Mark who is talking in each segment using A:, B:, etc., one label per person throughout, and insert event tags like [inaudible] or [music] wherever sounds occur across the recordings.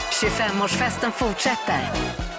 A: 25-årsfesten fortsätter.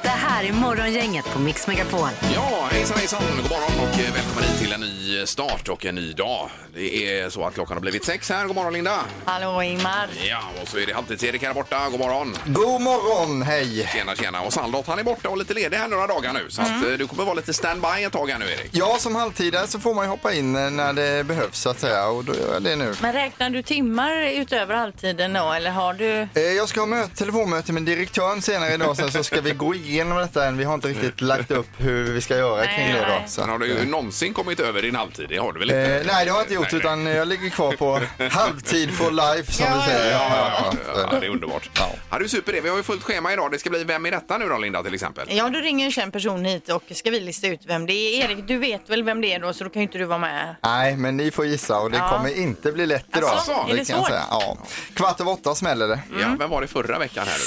A: Det här är Morgongänget på Mix Megapol.
B: Ja, hejsan hejsan, god morgon och eh, välkommen hit till en ny eh, start och en ny dag. Det är så att klockan har blivit sex här. God morgon Linda!
C: Hallå Ingmar.
B: Ja, och så är det Halvtids-Erik här borta. God morgon!
D: God morgon, hej!
B: Tjena, tjena. Och Sandlot han är borta och lite ledig här några dagar nu. Så
D: Mm.
B: att, eh, du kommer vara lite standby ett tag här nu Erik.
D: Ja, som halvtidare så får man ju hoppa in eh, när det behövs så att säga och då gör jag det nu.
C: Men räknar du timmar utöver halvtiden då eller har du?
D: Eh, Jag ska ha möte, telefonmöte med direktören senare idag sen så ska vi gå igenom detta än. Vi har inte riktigt lagt upp hur vi ska göra kring
C: Nej,
D: det
C: nej.
D: då. Så.
B: Sen har du ju någonsin kommit över din halvtid, det har du väl inte?
D: Eh, nej, det har jag inte gjort
B: Nej,
D: utan jag ligger kvar på halvtid for life som vi säger.
B: Ja,
D: Ja,
B: ja, det är underbart. Ja. det är super det. Vi har ju fullt schema idag. Det ska bli Vem är detta nu då Linda till exempel?
C: Ja, du ringer en känd person hit och ska vi lista ut vem det är. Erik, du vet väl vem det är då så då kan ju inte du vara med.
D: Nej, men ni får gissa och det
C: Ja.
D: kommer inte bli lätt idag.
C: Alltså, är det
D: kan jag
C: svårt?
D: säga. Ja. Kvart över åtta smäller det.
B: Ja, vem var det förra veckan här nu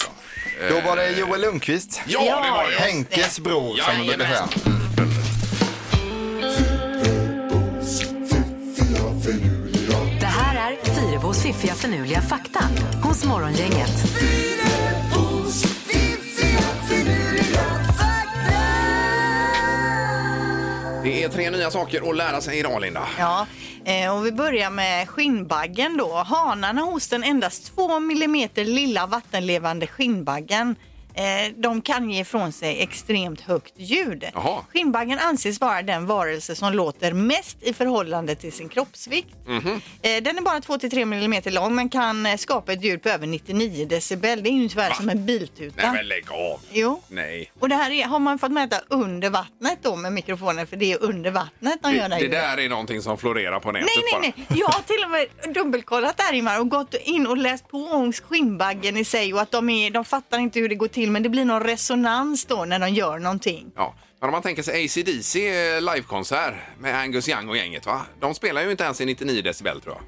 B: då?
D: Då var det Joel Lundqvist,
B: Ja, det var det! ja.
D: Henkes bror som man brukar säga.
B: Jajamän.
A: Det här är Fyrabos fiffiga förnuliga fakta hos Morgongänget.
B: Det är tre nya saker att lära sig idag, Linda.
C: Ja, eh, och vi börjar med skinnbaggen då. Hanarna hos den endast 2 millimeter lilla vattenlevande skinnbaggen. Eh, de kan ge ifrån sig extremt högt ljud.
B: Jaha.
C: Skinnbaggen anses vara den varelse som låter mest i förhållande till sin kroppsvikt.
B: Mhm.
C: Eh, den är bara 2-3 millimeter lång men kan eh, skapa ett ljud på över 99 decibel. Det är ungefär som en
B: Nej,
C: biltuta.
B: men lägg av!
C: Jo.
B: Nej.
C: Och det här är, har man fått mäta under vattnet då med mikrofonen för det är under vattnet de
B: Det,
C: gör det här
B: det
C: ljudet.
B: där är någonting som florerar på nätet
C: Nej, nej,
B: bara.
C: nej. Jag har till och med dubbelkollat där Ingmar och gått in och läst på om skinnbaggen i sig och att de, är, de fattar inte hur det går till men det blir någon resonans då när de gör någonting.
B: Ja. Men om man tänker sig ACDC eh, livekonsert med Angus Young och gänget, va? De spelar ju inte ens i 99 decibel, tror jag.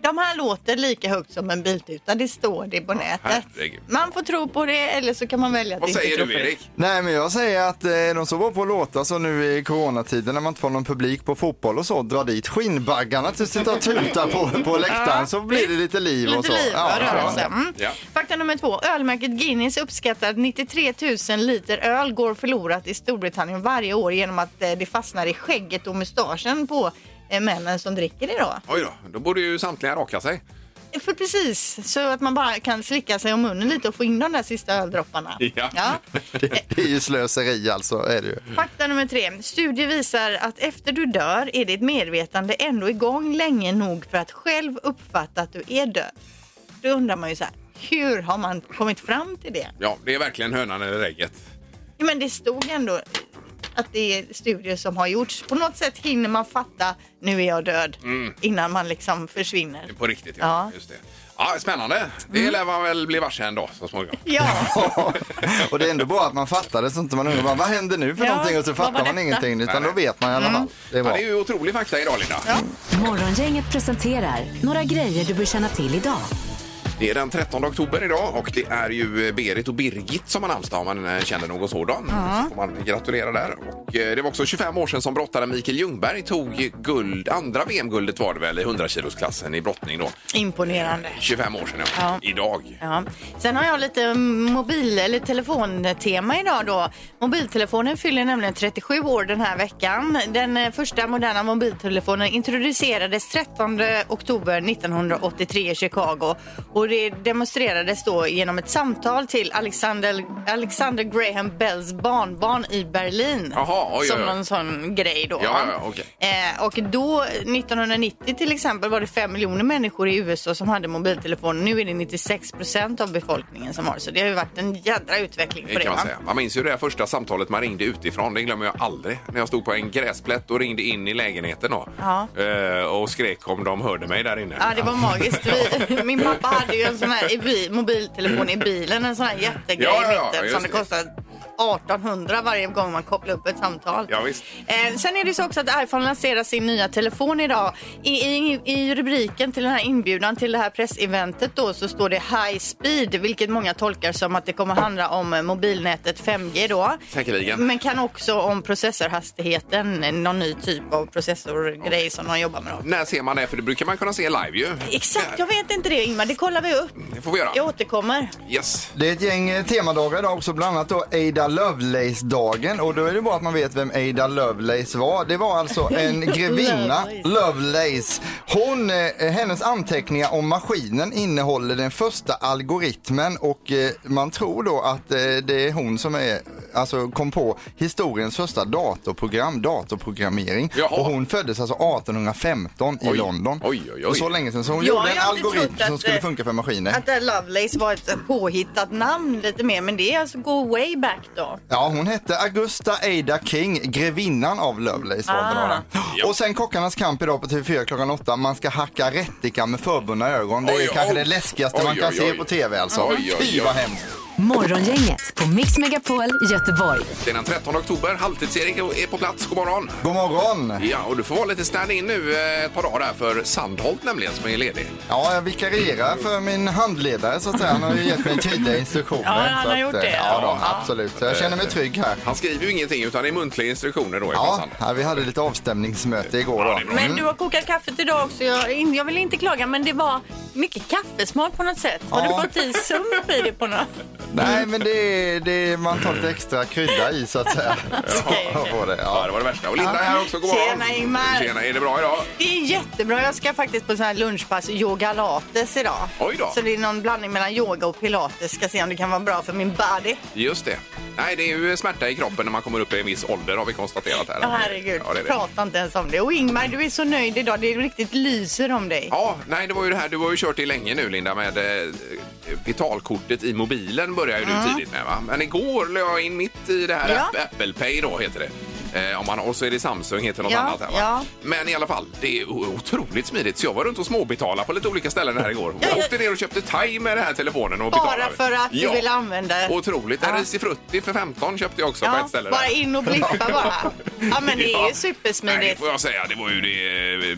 C: De här låter lika högt som en biltuta, det står det på nätet.
B: herregud.
C: Man får tro på det eller så kan man välja att
B: Vad
C: inte
B: säger
C: tro
B: du,
C: på det.
B: Erik?
D: Nej men jag säger att eh, de så bra på att låta så nu i coronatiden när man inte får någon publik på fotboll och så dra dit skinnbaggarna till att sitta och tuta på, på läktaren så blir det lite liv och
C: Lite
D: så.
C: liv och rörelse.
D: ja.
C: Mm.
B: Ja.
C: Fakta nummer två. Ölmärket Guinness uppskattar att 93 000 liter öl går förlorat i Storbritannien varje år genom att eh, det fastnar i skägget och mustaschen på eh, männen som dricker det då.
B: Oj då, då borde ju samtliga raka sig.
C: För precis, så att man bara kan slicka sig om munnen lite och få in de där sista öldropparna. Eh,
B: Ja.
D: Det, det är ju slöseri alltså är det ju.
C: Fakta nummer tre. Studier visar att efter du dör är ditt medvetande ändå igång länge nog för att själv uppfatta att du är död. Då undrar man ju så här, hur har man kommit fram till det?
B: Ja, det är verkligen hönan eller ägget.
C: Ja, Men det stod ändå att det är studier som har gjorts. På något sätt hinner man fatta, nu är jag död, innan man liksom försvinner.
B: På riktigt,
C: Ja. Mm.
B: Just det. Ja, spännande. Det lär man väl bli varse en dag så småningom.
C: Ja,
D: och det är ändå bra att man fattar det så inte man undrar bara, vad händer nu för
C: Ja,
D: någonting och så
C: vad
D: fattar
C: var
D: man
C: detta?
D: ingenting utan
B: Nej.
D: då vet man i alla fall. Det är
B: Ja,
D: bra.
B: det är ju otrolig fakta idag, Linda.
A: Morgongänget presenterar några grejer du bör känna till idag.
B: Det är den 13 oktober idag och det är ju eh, Berit och Birgit som har namnsdag om man eh, känner någon sådan. Så får man gratulera där. Och eh, det var också 25 år sedan som brottaren Mikael Ljungberg tog guld, andra VM-guldet var det väl i 100-kilosklassen i brottning då.
C: imponerande.
B: 25 år sedan ja. idag. eh,
C: Ja. Sen har jag lite mobil eller telefontema idag då. Mobiltelefonen fyller nämligen 37 år den här veckan. Den eh, första moderna mobiltelefonen introducerades 13 oktober 1983 i Chicago och det demonstrerades då genom ett samtal till Alexander, Alexander Graham Bells barnbarn i Berlin.
B: Jaha, oj, oj, oj.
C: Som någon sån grej då.
B: Ja,
C: va?
B: ja, ja, okej.
C: Eh, och då, 1990 till exempel, var det 5 miljoner människor i USA som hade mobiltelefoner. Nu är det 96 procent av befolkningen som har. Så det har ju varit en jädra utveckling
B: Det
C: på det.
B: kan man
C: va?
B: säga. Man minns ju det här första samtalet man ringde utifrån. Det glömmer jag aldrig. När jag stod på en gräsplätt och ringde in i lägenheten då.
C: Ja.
B: Eh, Och skrek om de hörde mig där inne.
C: Ja, det var magiskt.
B: [laughs]
C: Vi, min pappa hade ju en sån här i bi, mobiltelefon i bilen, en sån här jättegrej
B: Ja, ja, ja,
C: i mitten
B: just
C: som det
B: det.
C: kostade 1800 varje gång man kopplar upp ett samtal.
B: Ja, visst.
C: Eh, sen är det så också att iPhone lanserar sin nya telefon idag. I, i, I rubriken till den här inbjudan till det här presseventet då så står det High Speed, vilket många tolkar som att det kommer handla om eh, mobilnätet 5G då.
B: Säkerligen.
C: Men kan också om processorhastigheten, eh, någon ny typ av processorgrej som de jobbar med då.
B: När ser man det? För det brukar man kunna se live ju.
C: Exakt, jag vet inte det Ingmar, det kollar vi upp.
B: Det får vi göra.
C: Jag återkommer.
B: Yes.
D: Det är ett gäng eh, temadagar idag också, bland annat då Ada Lovelace-dagen. Och då är det bra att man vet vem Ada Lovelace var. Det
C: [laughs]
D: var alltså en grevinna, Lovelace. Hon, eh, hennes anteckningar om maskinen innehåller den första algoritmen och eh, man tror då att eh, det är hon som är, alltså kom på historiens första datorprogram, datorprogrammering.
B: Jaha.
D: Och hon föddes alltså 1815 i
B: Oj.
D: London.
B: Oj, oj, oj.
D: Så länge sedan, så hon
C: Jag har
D: gjorde en
C: alltid
D: algoritm
C: trott att,
D: som skulle
C: eh,
D: funka för maskiner.
C: Att det här Lovelace var ett påhittat namn lite mer, men det är alltså go way back då.
D: Ja, hon hette Augusta Ada King, grevinnan av Lovelace. Var det
C: Ah.
D: några. Och sen Kockarnas kamp idag på TV4 klockan åtta. Man ska hacka rättika med förbundna ögon. Det är
B: Oj,
D: kanske
B: oj.
D: det läskigaste
B: Oj,
D: man kan
B: oj,
D: se
B: oj.
D: på TV alltså.
B: Oj, oj,
D: Fy
B: oj.
D: vad hemskt.
A: Morgongänget på Mix Megapol Göteborg.
B: Det är den 13 oktober. Halvtids-Erik är på plats. God morgon.
D: God morgon.
B: Ja, och du får vara lite stand-in nu eh, ett par dagar där för Sandholt nämligen som är ledig.
D: Ja, jag vikarierar för min handledare så att säga. Han har ju gett mig tydliga instruktioner.
C: Ja, han
D: så
C: har
D: att,
C: gjort
D: eh,
C: det.
D: Ja, då,
C: Ja.
D: absolut. Så jag känner mig trygg här.
B: Han skriver ju ingenting utan det är muntliga instruktioner då ifrån
D: Ja,
B: Sandholt.
D: här, vi hade lite avstämningsmöte igår
B: Ja, det är
D: då.
B: bra.
C: Men du har kokat kaffet idag också. Jag, in- jag vill inte klaga, men det var mycket kaffesmak på något sätt. Har
D: Ja.
C: du fått i sump i det på något?
D: Nej, men det är, det är, man tar lite extra krydda i så att säga.
C: Okej, okej.
D: På det, [laughs]
B: Ja,
D: ja.
B: det var det värsta. Och Linda är
C: Ja.
B: här också. God morgon.
C: Tjena, Ingmar.
B: Tjena, är det bra idag?
C: Det är jättebra. Jag ska faktiskt på sån här lunchpass yoga lattes idag.
B: Oj då.
C: Så det är någon blandning mellan yoga och pilates. Ska se om det kan vara bra för min body.
B: Just det. Nej, det är ju smärta i kroppen när man kommer upp i en viss ålder har vi konstaterat här.
C: Ja, herregud.
B: Ja, det är det.
C: Prata inte ens om det. Och Ingmar, du är så nöjd idag. Det riktigt lyser om dig.
B: Ja, nej det var ju det här. Du har ju kört i länge nu Linda med eh, betalkortet i mobilen börjar ju du tidigt med va? Men igår la jag in mitt i det här
C: Ja.
B: App- Apple Pay då heter det. Eh, om man, och så är det Samsung heter något
C: Ja,
B: annat här va?
C: ja.
B: Men i alla fall, det är o- otroligt smidigt. Så jag var runt och småbetalade på lite olika ställen här igår.
C: Ja,
B: Jag
C: ja.
B: åkte ner och köpte thai med den här telefonen och
C: Bara
B: betalade.
C: för att
B: Ja.
C: du vill använda
B: Otroligt. En
C: Ja.
B: risifrutti för 15 köpte jag också på
C: Ja,
B: ett ställe.
C: bara
B: där.
C: in och blippa
B: [laughs]
C: bara. Ja, men det är
B: Ja.
C: ju supersmidigt.
B: Nej, det får jag säga. Det var ju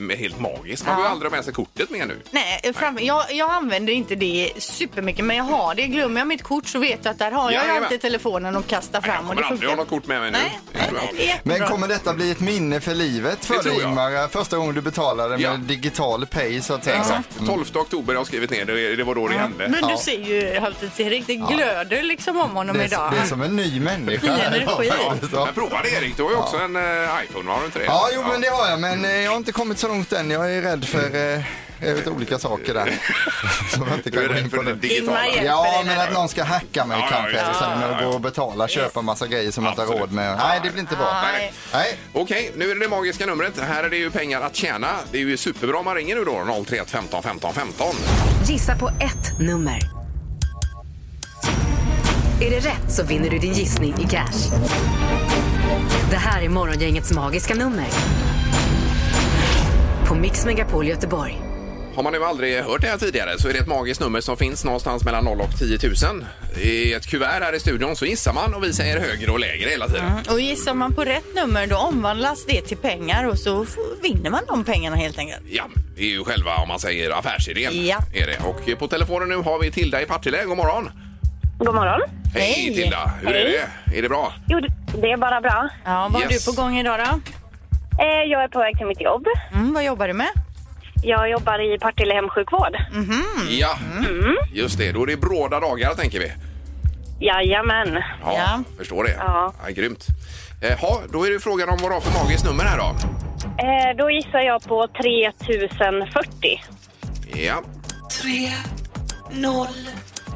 B: det, eh, helt magiskt. Man
C: Ja.
B: behöver ju aldrig ha med sig kortet med nu.
C: Nej, eh, fram, jag, jag använder inte det supermycket, men jag har det. Glömmer jag mitt kort så vet jag att där har jag ju
B: Jajamän.
C: alltid telefonen och kasta
B: Nej, jag
C: fram. och
B: kommer aldrig ha något kort med mig nu.
C: Nej,
B: Det tror jag
C: nej,
B: inte.
C: det är jättebra.
D: Men kommer detta bli ett minne för livet
B: Det
D: för dig
B: tror jag.
D: Ingmar? Första gången du betalade
B: Ja.
D: med digital pay så att säga. Mm.
B: Exakt. 12 oktober har jag skrivit ner. Det det var då det hände.
C: Men du ser ju halvtids-Erik, det glöder liksom om honom
D: Det är,
C: idag.
D: det är som en ny människa.
C: Ny energi.
D: Ja,
B: Men prova det Erik. Du har ju också en eh, iPhone, har du inte det?
D: Ja, jo men det har jag, men eh, jag har inte kommit så långt än. Jag är rädd för eh, jag vet, olika saker
B: [laughs]
D: där. Som jag inte
B: Du
D: kan
B: är
D: gå in
B: rädd
D: på
B: för det
D: nu.
B: digitala.
C: Ingmar, hjälp.
D: Ja, men att någon ska hacka mig
B: Ja, ja,
D: kanske.
B: ja,
D: och Sen
B: ja, ja.
D: gå och betala, köpa massa grejer som man inte har
B: Absolut.
D: råd med. Nej, det blir inte bra.
B: Nej.
D: Nej.
B: Okej, nu är det det magiska numret. Här är det ju pengar att tjäna. Det är ju superbra om man ringer nu då. 031 15 15 15.
A: Gissa på ett nummer. Är det rätt så vinner du din gissning i cash. Det här är Morgongängets magiska nummer. På Mix Megapol Göteborg.
B: Har man nu aldrig hört det här tidigare så är det ett magiskt nummer som finns någonstans mellan 0 och 10 000. I ett kuvert här i studion så gissar man och vi säger högre och lägre hela tiden.
C: Och gissar man på rätt nummer då omvandlas det till pengar och så f- vinner man de pengarna helt enkelt.
B: Ja, det är ju själva om man säger affärsidén.
C: Ja.
B: Är det. Och på telefonen nu har vi Tilda i Partille. God morgon!
E: God morgon.
B: Hej,
C: Hej.
B: Tilda! Hur är det? Är det bra?
E: Jo, det- det är bara bra.
C: Ja, vad har
B: Yes.
C: du på gång idag då?
E: Eh, Jag är på väg till mitt jobb.
C: Mm, vad jobbar du med?
E: Jag jobbar i Partille hemsjukvård.
C: Mm.
B: Ja, just det. Då är det bråda dagar tänker vi.
E: Jajamän.
B: Ja,
C: Ja.
B: förstår det.
E: Ja.
B: grymt. Jaha, då är det frågan om vad du har för magiskt nummer här då.
E: Eh, Då gissar jag på 3040.
B: Ja,
F: 3 0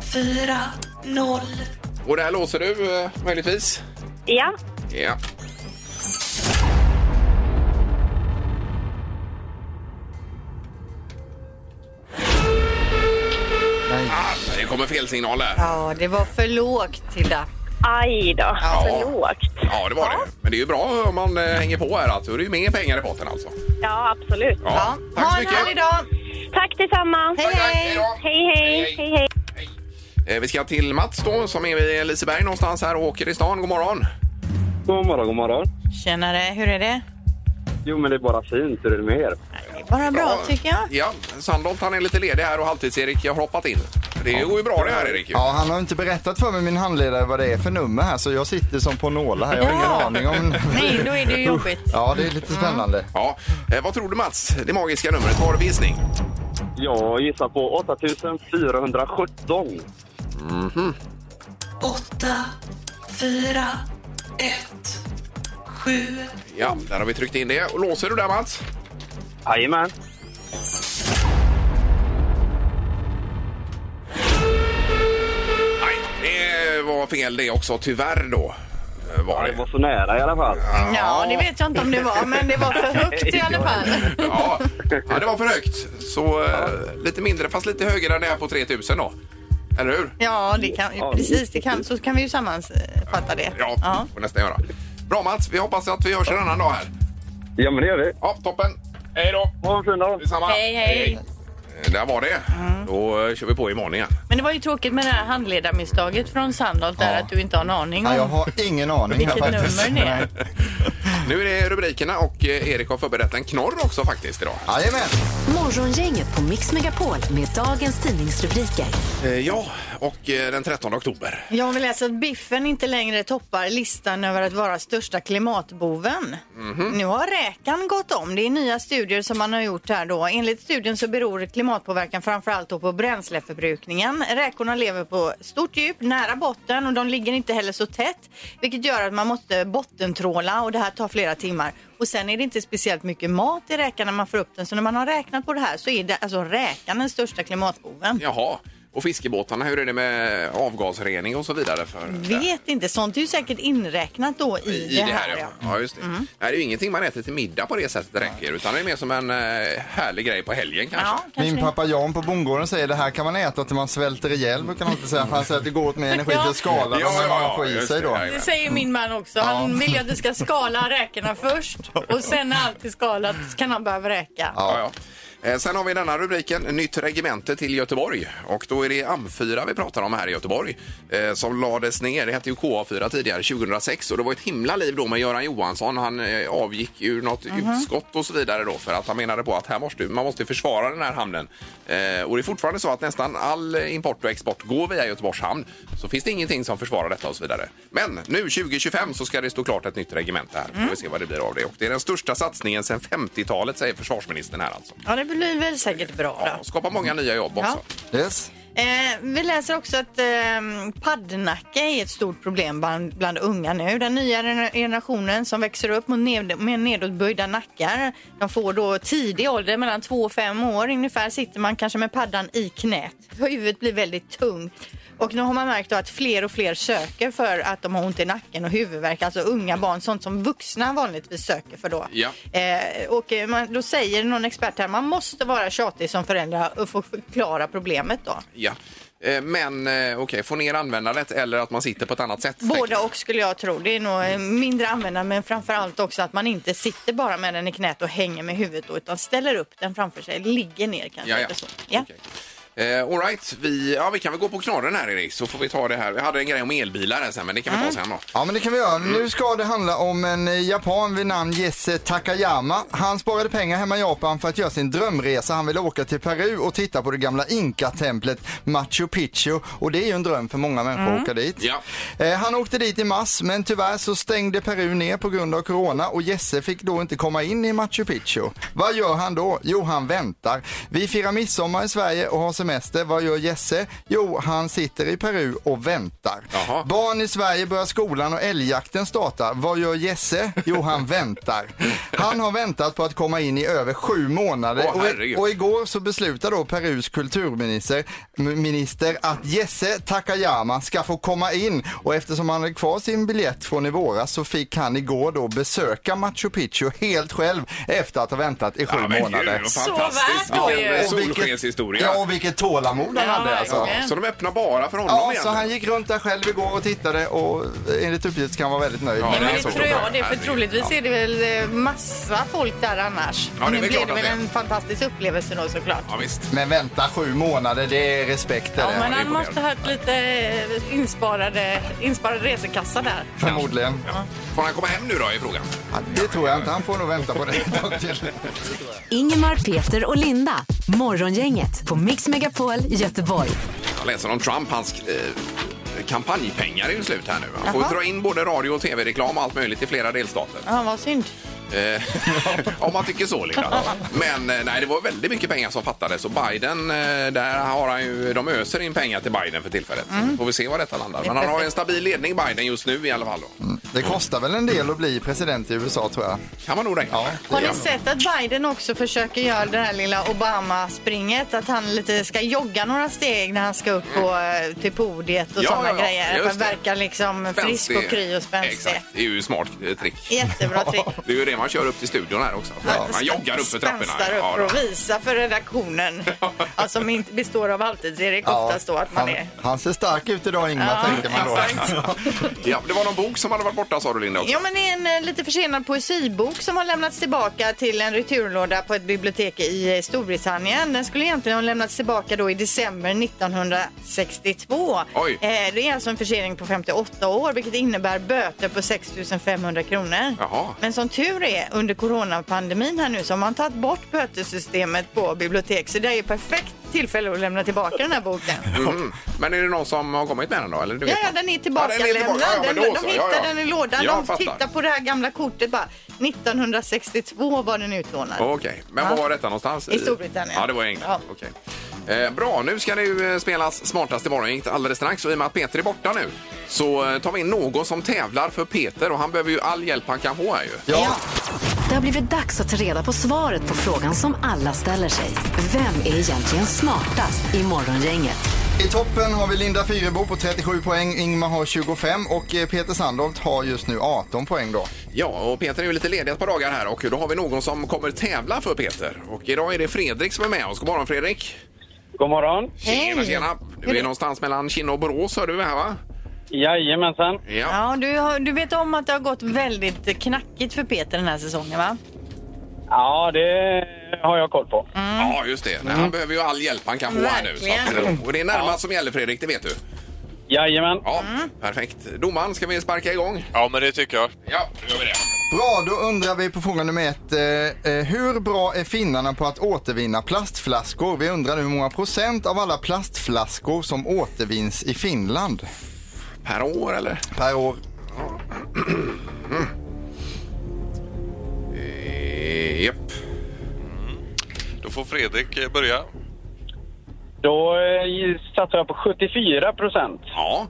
F: 4 0
B: och där låser du eh, möjligtvis?
E: Ja,
B: Ja.
D: Nej.
B: Ah, det kommer fel signal där.
C: Ja, det var för lågt Tilda.
E: aj då.
B: Ja.
E: För lågt.
B: Ja, det var det. Men det är ju bra om man eh, hänger på här att då är det ju mer pengar i potten alltså.
E: Ja, absolut.
C: Ja.
B: Tack
C: ha
B: så
C: en
B: mycket.
C: härlig dag!
E: Tack detsamma.
C: Hej,
B: Tack,
C: hej!
B: då.
E: Hej, hej. hej, hej.
B: Eh, Vi ska till Mats då, som är vid Liseberg någonstans här och åker i stan. God morgon!
G: God morgon, god morgon.
C: Tjenare, hur är det?
G: Jo, men det är bara fint. Hur är det med er?
C: Det är bara bra tycker jag.
B: Ja, Sandholt han är lite ledig här och halvtids-Erik har hoppat in. Det går ju bra det här Erik. ju.
D: Ja, han har inte berättat för mig, min handledare, vad det är för nummer här så jag sitter som på nålar här. Jag har
C: Ja.
D: ingen aning om...
C: Nej, då är det ju jobbigt.
D: Ja, det är lite spännande.
B: Ja, eh, vad tror du Mats? Det magiska numret, vad har du för gissning?
G: Jag gissar på 8417.
F: 8, 4, 1, 7.
B: Ja, där har vi tryckt in det. Och låser du där Mats?
G: Jajamän.
B: Nej, det var fel det också tyvärr då. eh, Var
G: Ja, det
B: det.
G: var så nära i alla fall.
C: Ja, det vet jag inte om det var, men det var för högt i alla fall.
B: Ja, ja, det var för högt. Så eh, lite mindre, fast lite högre än det här på 3000 då. Eller hur?
C: Ja, det kan, precis. Det kan, så kan vi ju sammanfatta det.
B: Ja,
C: Ja.
B: får nästan göra. Bra Mats, vi hoppas att vi hörs en annan dag här.
G: Ja, men det gör vi.
B: Ja, toppen. Hej då!
G: Ha en fin dag.
B: Detsamma.
C: Hej, Mm. hej.
B: Eh, Där var det. Då eh, kör vi på imorgon igen.
C: Men det var ju tråkigt med det här handledarmisstaget från Sandholt där att du inte har en aning
D: Nej, jag
C: om
D: har ingen aning här
C: vilket
D: faktiskt.
C: nummer det är.
B: Nu är det rubrikerna och eh, Erik har förberett en knorr också faktiskt idag.
D: Jajamän!
A: Morgongänget på Mix Megapol med dagens tidningsrubriker.
B: Eh, Ja, och eh, den 13 oktober.
C: Jag vill läsa att alltså, biffen inte längre toppar listan över att vara största klimatboven. Nu har räkan gått om. Det är nya studier som man har gjort här då. Enligt studien så beror klimatpåverkan framförallt då på bränsleförbrukningen. Räkorna lever på stort djup, nära botten och de ligger inte heller så tätt, vilket gör att man måste bottentråla och det här tar flera timmar. Och sen är det inte speciellt mycket mat i räkan när man får upp den, så när man har räknat på det här så är det alltså räkan den största klimatboven.
B: Jaha. Och fiskebåtarna, hur är det med avgasrening och så vidare? För,
C: Vet inte, sånt är ju säkert inräknat då i,
B: I det här, ja. ja just det.
C: Mm.
B: Nej, det är ju ingenting man äter till middag på det sättet det räcker, utan det är mer som en eh, härlig grej på helgen kanske.
C: Ja, kanske
D: Min
C: det.
D: pappa Jan på bondgården säger det här kan man äta till man svälter ihjäl brukar han inte säga. För han säger att det går åt mer energi till att skala
B: Ja,
D: dem än
B: ja,
D: vad man får i
B: just
D: sig
B: det,
D: då.
B: ja, ja.
H: Det säger min man också. Han vill ju att du ska skala räkorna
B: [laughs]
H: först och sen när allt är skalat kan han börja vräka.
B: Ja, ja. Eh, Sen har vi denna rubriken, nytt regemente till Göteborg. Och då är det AM4 vi pratar om här i Göteborg eh, som lades ner. Det hette ju KA4 tidigare, 2006. Och det var ett himla liv då med Göran Johansson. Han eh, avgick ur något utskott och så vidare då för att han menade på att här måste, man måste försvara den här hamnen. Eh, Och det är fortfarande så att nästan all import och export går via Göteborgs hamn. Så finns det ingenting som försvarar detta och så vidare. Men nu 2025 så ska det stå klart ett nytt regemente här.
C: Mm.
B: Får vi se vad det blir av det. Och det är den största satsningen sedan 50-talet säger försvarsministern här alltså.
C: ja, det blir väl säkert bra
B: Ja,
C: då.
B: och skapa många nya jobb också.
D: Yes.
C: Eh, vi läser också att eh, paddnacka är ett stort problem bland, bland unga nu. Den nya gener- generationen som växer upp mot ned, med nedåtböjda nackar. De får då tidig ålder, mellan två och fem år ungefär, sitter man kanske med paddan i knät. Huvudet blir väldigt tungt. Och nu har man märkt då att fler och fler söker för att de har ont i nacken och huvudvärk. Alltså unga barn, sånt som vuxna vanligtvis söker för då.
B: Ja.
C: Eh, och eh, man, då säger någon expert här, man måste vara tjatig som förälder och få förklara problemet då.
B: Ja. Eh, Men eh, okej, få ner användandet eller att man sitter på ett annat sätt. tänker
C: Båda
B: jag.
C: och skulle jag tro. Det är nog eh,
B: Mm.
C: mindre användare men framförallt också att man inte sitter bara med den i knät och hänger med huvudet då, utan ställer upp den framför sig, ligger ner kanske.
B: Ja, ja.
C: eller så. ja.
B: Okej. Eh, all right. vi, ja, vi kan väl gå på knorren här Erik, så får vi ta det här. Vi hade en grej om elbilar här sen, men det kan
C: Mm.
B: vi ta sen då.
D: Ja men det kan vi göra. Nu ska det handla om en eh, japan vid namn Jesse Takayama. Han sparade pengar hemma i Japan för att göra sin drömresa. Han ville åka till Peru och titta på det gamla Inka-templet Machu Picchu. Och det är ju en dröm för många människor att åka dit.
B: Mm. Ja.
D: Eh, Han åkte dit i mars men tyvärr så stängde Peru ner på grund av corona och Jesse fick då inte komma in i Machu Picchu. Vad gör han då? Jo, han väntar. Vi firar midsommar i Sverige och har semester. Vad gör Jesse? Jo, han sitter i Peru och väntar.
B: Jaha.
D: Barn i Sverige börjar skolan och älgjakten startar. Vad gör Jesse? Jo, han väntar. Han har väntat på att komma in i över sju månader
B: Åh, herregud.
D: och, och igår så beslutade då Perus kulturminister m- minister, att Jesse Takayama ska få komma in och eftersom han hade kvar sin biljett från i våras så fick han igår då besöka Machu Picchu helt själv efter att ha väntat i sju
B: men gud,
D: månader.
B: vad fantastiskt.
H: värt då
B: Vilken eh,
H: ju.
B: solskenshistoria.
D: ja, och vilket vilket tålamod han
H: Ja,
D: hade alltså.
H: verkligen.
B: Så de öppnar bara för honom
D: Ja,
B: igen.
D: så han gick runt där själv igår och tittade och eh, enligt uppgift ska han vara väldigt nöjd.
B: Ja,
H: Nej, men
B: det är
H: det
B: så.
H: tror jag det, för
B: Herregud.
H: troligtvis är det väl eh, massa folk där annars.
B: Ja, det är
H: Men
B: väl
H: blev
B: klart
H: det
B: att
H: väl
B: det är.
H: en fantastisk upplevelse då såklart.
B: Ja, visst.
D: Men vänta sju månader, det är respekt är
H: Ja,
D: det.
H: men
B: det är
H: han måste ha
B: imponerande.
H: haft lite eh, insparade, insparad resekassa där.
D: Förmodligen.
B: Får han komma hem nu då i frågan?
D: Ja, det tror jag inte. Han får nog vänta på det ett tag till.
A: Ingemar, Peter och Linda. Morgongänget på Mix Megapol Göteborg.
B: Jag läser om Trump. Hans eh, kampanjpengar är ju slut här nu. Han får
C: Jaha.
B: dra in både radio och tv-reklam och allt möjligt i flera delstater.
C: Ja, vad synd.
B: Eh, [laughs] om man tycker så, Linda. Men eh, nej, det var väldigt mycket pengar som fattades och Biden, eh, där har han ju, de öser in pengar till Biden för tillfället. Får vi se var detta landar. Men han har en stabil ledning, Biden, just nu i alla fall. Då.
D: Det kostar väl en del att bli president i USA tror jag.
B: Kan man nog räkna med.
C: Har ni
B: Ja.
C: sett att Biden också försöker göra det här lilla Obama-springet? Att han lite ska jogga några steg när han ska upp på, eh, till podiet och
B: Mm. Ja,
C: sådana
B: ja, ja.
C: grejer. Att
B: Just
C: han
B: det.
C: verkar liksom frisk
B: Spänstig.
C: och kry och spänstig.
B: Exakt, det är ju ett smart eh, trick.
C: Jättebra
B: [laughs]
C: trick.
B: Det är ju det man kör upp till studion här också. Man joggar upp för trapporna.
C: Spänstar upp
B: Ja,
C: för
B: då.
C: att visa för
B: [laughs]
C: redaktionen. ja, som inte består av halvtids-Erik oftast då att man
D: han,
C: är.
D: han ser stark ut idag Ingmar,
C: Ja,
D: tänker man då.
C: exakt.
B: [laughs] Ja, det var någon bok som hade varit borta sa du Linda också.
C: Ja, men det är en eh, lite försenad poesibok som har lämnats tillbaka till en returlåda på ett bibliotek i eh, Storbritannien. Den skulle egentligen ha lämnats tillbaka då i december 1962.
B: Oj.
C: Eh, det är alltså en försening på 58 år vilket innebär böter på 6 500 kronor.
B: Jaha.
C: Men som tur är under coronapandemin här nu så har man tagit bort bötesystemet på bibliotek så det är ju perfekt tillfälle att lämna tillbaka den här boken.
B: [laughs] Mm. Men är det någon som har kommit med den då? Eller du
C: Ja,
B: vet
C: ja,
B: man?
C: den är
B: Ja, den är tillbaka.
C: tillbakalämnad.
B: Ja, ja,
C: Den-
B: men då
C: de
B: så.
C: hittade
B: Ja, ja.
C: den i lådan.
B: Jag
C: de
B: fattar.
C: tittar på det här gamla kortet bara. 1962 var den utlånad.
B: Okej, men
C: Ja.
B: var var detta någonstans?
C: I Storbritannien.
B: Ja, det var i England. Okej. Eh, bra, nu ska det ju eh, spelas smartaste morgongänget alldeles strax. Och I och med att Peter är borta nu så eh, tar vi in någon som tävlar för Peter och han behöver ju all hjälp han kan få här ju.
D: Ja,
A: Det har blivit dags att ta reda på svaret på frågan som alla ställer sig. Vem är egentligen smartast i Morgongänget?
D: I toppen har vi Linda Fyrebo på 37 poäng, Ingmar har 25 och eh, Peter Sandholt har just nu 18 poäng då.
B: Ja, och Peter är ju lite ledig ett par dagar här och då har vi någon som kommer tävla för Peter. Och idag är det Fredrik som är med oss. God morgon Fredrik!
G: God morgon.
B: Tjena, tjena! Du är någonstans mellan Kinna och Borås hör du här va?
G: Jajamensan.
B: Ja.
C: Ja, du, har- du vet om att det har gått väldigt knackigt för Peter den här säsongen va?
G: Ja, det har jag koll på.
B: Ja, just det.
C: Mm.
B: Nej, han behöver ju all hjälp han kan få här nu. Så att, och det är närmast som gäller Fredrik, det vet du.
G: Jajamän.
B: Ja,
C: Mm.
B: perfekt. Domaren, ska vi sparka igång?
I: Ja, men det tycker jag.
B: Ja, då gör vi det.
D: Bra, då undrar vi på fråga nummer ett. Eh, eh, hur bra är finnarna på att återvinna plastflaskor? Vi undrar nu hur många procent av alla plastflaskor som återvinns i Finland
B: Per år, eller?
D: per år?
B: Eh, Japp.
I: Då får Fredrik eh, börja.
G: Då eh, satsar jag på 74 procent.
B: Ja.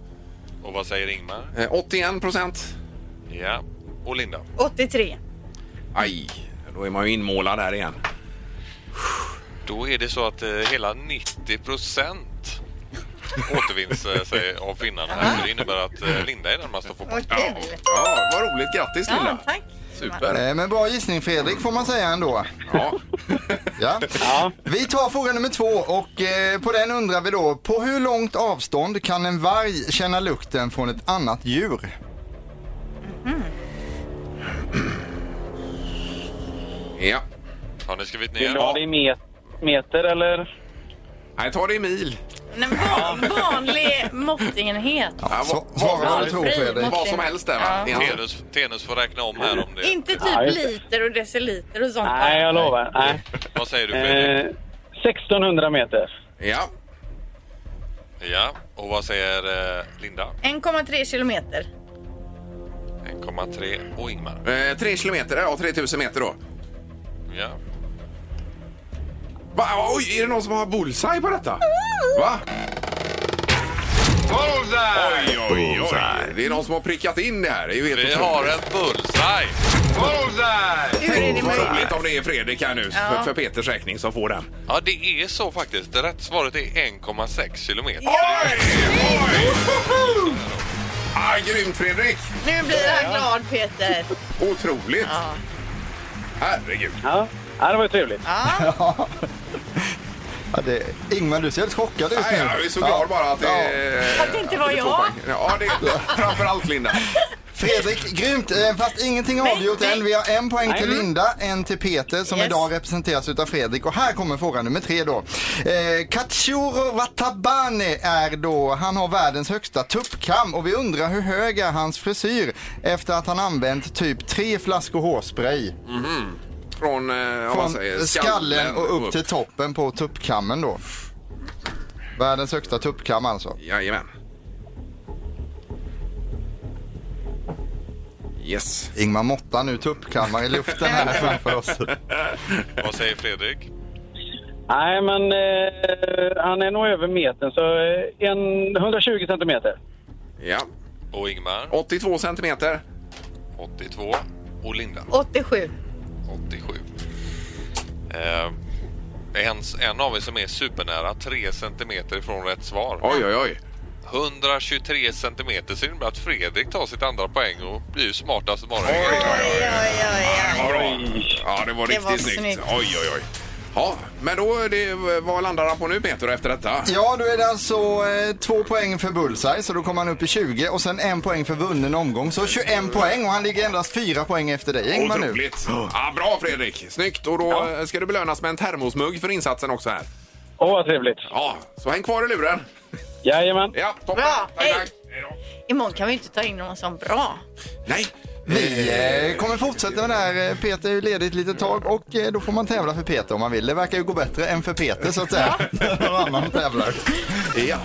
I: Och vad säger Ingmar?
B: Eh, 81 procent.
I: Ja. Och Linda?
C: 83.
B: Aj, då är man ju inmålad här igen.
I: Då är det så att eh, hela 90 procent återvinns eh, sig av finnarna. här. [laughs] Så Det innebär att eh, Linda är närmast att få poäng.
C: Vad kul.
B: Ja, vad roligt. Grattis,
C: Ja,
B: Linda.
C: tack.
B: Super.
D: Eh, men bra gissning Fredrik får man säga ändå.
B: Ja.
D: Ja. Vi tar fråga nummer två och eh, på den undrar vi då, på hur långt avstånd kan en varg känna lukten från ett annat djur?
B: ja.
I: Har ni skrivit
G: Vill
I: ner?
G: du ha det i met meter eller?
B: Nej, ta det i mil.
H: En van, vanlig måttenhet.
B: Ja,
D: Så,
B: vad-
D: svara vad du
H: vad-
D: tror
H: fri
D: Fredrik.
H: mot-
B: Vad som helst där, va? Det är hans-
I: Tenus, Tenus får räkna om här om det.
H: Inte
G: Ja,
H: typ
G: just det.
H: liter och deciliter och sånt.
G: Nej, jag lovar. Nej.
I: Vad säger du Fredrik?
G: Eh, 1600 meter.
B: Ja.
I: Ja. Och vad säger eh, Linda?
H: 1,3 kilometer.
I: 1,3 och Ingmar.
B: Eh, Tre kilometer, ja, 3000 meter då.
I: Ja.
B: Va? Oj, är det någon som har bullseye på detta? Va?
I: Bullseye!
B: Oj, oj, oj. Det är någon som har prickat in det här. Det är ju helt
I: Vi
B: otroligt.
I: har en bullseye!
B: Hur är det Vad roligt om det är Fredrik här nu för, för Peters räkning som får den.
I: Ja, det är så faktiskt. Det rätt svaret är 1,6 kilometer.
B: Oj! Oj! Ah, grymt Fredrik!
C: Nu blir han glad Peter.
B: Otroligt! Herregud.
G: Ja. ja, det var ju trevligt.
D: Ja. Ja, det, Ingmar, du ser helt chockad ut
B: Nej,
D: nu.
B: jag är så glad bara att
D: Ja.
B: det...
C: Att det inte var
B: att det
C: jag.
B: får poäng. Ja, det är framförallt Linda.
D: Fredrik, grymt! Eh, Fast ingenting är avgjort
C: nej.
D: än. Vi har en poäng till
H: Nej.
D: Linda, en till Peter som
C: Yes.
D: idag representeras utav Fredrik. Och här kommer fråga nummer tre då. Eh, Kachuro Ratabane är då, han har världens högsta tuppkam och vi undrar hur hög är hans frisyr efter att han använt typ tre flaskor hårspray.
B: Från, eh, vad man
D: Från
B: säger,
D: skallen, och upp till toppen på tuppkammen då. Världens högsta tuppkam alltså.
B: Jajamän. Yes.
D: Ingmar måttar nu tuppkammar i luften här framför oss.
I: Vad säger Fredrik?
H: Nej, men eh, han är nog över metern, så eh, en, 120 centimeter.
B: Ja.
I: Och Ingmar
B: 82 centimeter.
I: 82 och Linda
C: 87.
I: 87. Eh, en, en av er som är supernära, 3 centimeter ifrån rätt svar.
B: Oj, oj, oj.
I: 123 centimeter. Så det innebär att Fredrik tar sitt andra poäng och blir ju smartast i morgon.
C: Oj, oj, oj.
B: Ja, bra. ja det var
C: Det
B: riktigt
C: var
B: snyggt.
C: snyggt.
B: Oj, oj, oj. Ja, men då, är det, vad landar han på nu Peter efter detta?
D: Ja, då är det alltså eh, två poäng för bullseye, så då kommer han upp i 20 och sen en poäng för vunnen omgång, så 21 poäng och han ligger endast fyra poäng efter dig Ingmar nu.
B: Otroligt! Ja, bra Fredrik! Snyggt! Och då eh, ska du belönas med en termosmugg för insatsen också här.
H: Åh, vad trevligt.
B: Ja, så häng kvar i luren!
H: Jajamän.
B: Ja, toppen!
C: Bra.
B: Tack,
C: Hej.
B: tack. Hej då.
C: Imorgon kan vi inte ta in någon som bra.
B: Nej!
D: Vi eh, kommer fortsätta med det här. Eh, Peter är ju ledig ett litet tag och eh, då får man tävla för Peter om man vill. Det verkar ju gå bättre än för Peter så att säga. När [laughs] någon annan tävlar.
B: Ja.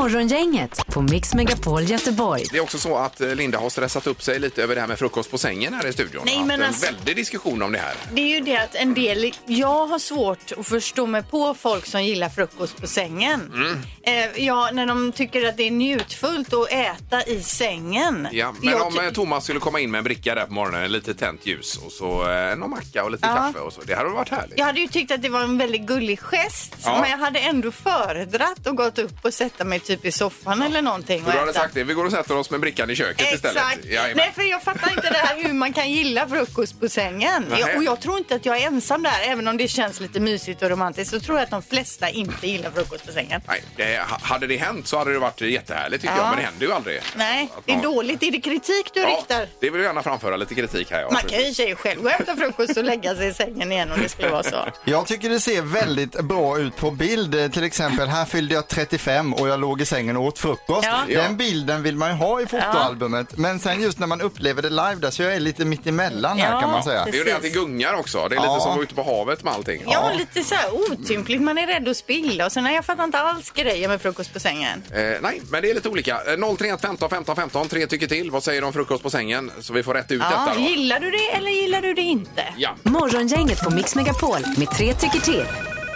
A: Morgongänget på Mix Megapol Göteborg.
B: Det är också så att eh, Linda har stressat upp sig lite över det här med frukost på sängen här i studion.
C: Nej,
B: Haft
C: men
B: en
C: alltså-
B: väldig diskussion om det här.
C: Det är ju det att en del, jag har svårt att förstå mig på folk som gillar frukost på sängen.
B: Mm.
C: Eh, ja, när de tycker att det är njutfullt att äta i sängen.
B: Ja, men
C: Jag
B: om
C: ty-
B: eh, Thomas skulle komma in med en bricka där på morgonen, lite tänt ljus och så eh, någon macka och lite
C: Ja.
B: kaffe och så. Det hade varit härligt.
C: Jag hade ju tyckt att det var en väldigt gullig gest
B: Ja.
C: men jag hade ändå föredragit att gått upp och sätta mig typ i soffan eller någonting
B: Så
C: och
B: du hade
C: äta.
B: sagt det, vi går och sätter oss med brickan i köket
C: Exakt.
B: istället. Jajamän.
C: Nej, för jag fattar inte det här hur man kan gilla frukost på sängen.
B: Nej.
C: Jag, och jag tror inte att jag är ensam där. Även om det känns lite mysigt och romantiskt så tror jag att de flesta inte gillar frukost på sängen.
B: Nej, det, ha- hade det hänt så hade det varit jättehärligt tycker
C: Ja.
B: jag, men det händer ju aldrig.
C: Nej,
B: Att
C: det är
B: man-
C: dåligt. Är det kritik du
B: Ja,
C: riktar?
B: det vill jag gärna framföra lite kritik här. Ja.
C: Man kan ju i och för sig själv gå och hämta frukost och lägga sig i sängen igen om det skulle vara så.
D: Jag tycker det ser väldigt bra ut på bild. Eh, Till exempel, här fyllde jag 35 och jag låg i sängen och åt frukost.
C: Ja.
B: Ja.
D: Den bilden vill man ju ha i fotoalbumet. Men sen just när man upplever det live där, så jag är lite mitt emellan här
C: Ja.
D: kan man säga.
B: Det är ju det att det gungar också. Det är lite
D: Ja.
B: som att vara ute på havet med allting.
C: Ja, lite så här otympligt. Man är rädd att spilla och sen nej, jag fattar inte alls grejer med frukost på sängen.
B: Eh, nej, men det är lite olika. Eh, 031 15 15 15, tre tycker till. Vad säger de om frukost på sängen? Så vi får rätt ut
C: Ja,
B: detta då.
C: gillar du det eller gillar du det inte?
B: Ja,
A: Morgongänget på Mix Megapol med tre tycker till.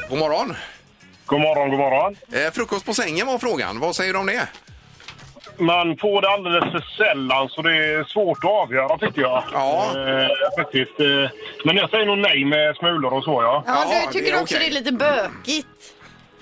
B: god morgon.
H: God morgon, god morgon.
B: Eh, frukost på sängen var frågan. Vad säger du om det?
H: Man får det alldeles för sällan, så det är svårt att avgöra tycker jag.
B: Ja.
H: Eh, faktiskt. Eh, men jag säger nog nej med smulor och så, ja.
C: Ja,
B: Ja,
C: du tycker
B: det är
C: också
B: okej.
C: det är lite bökigt.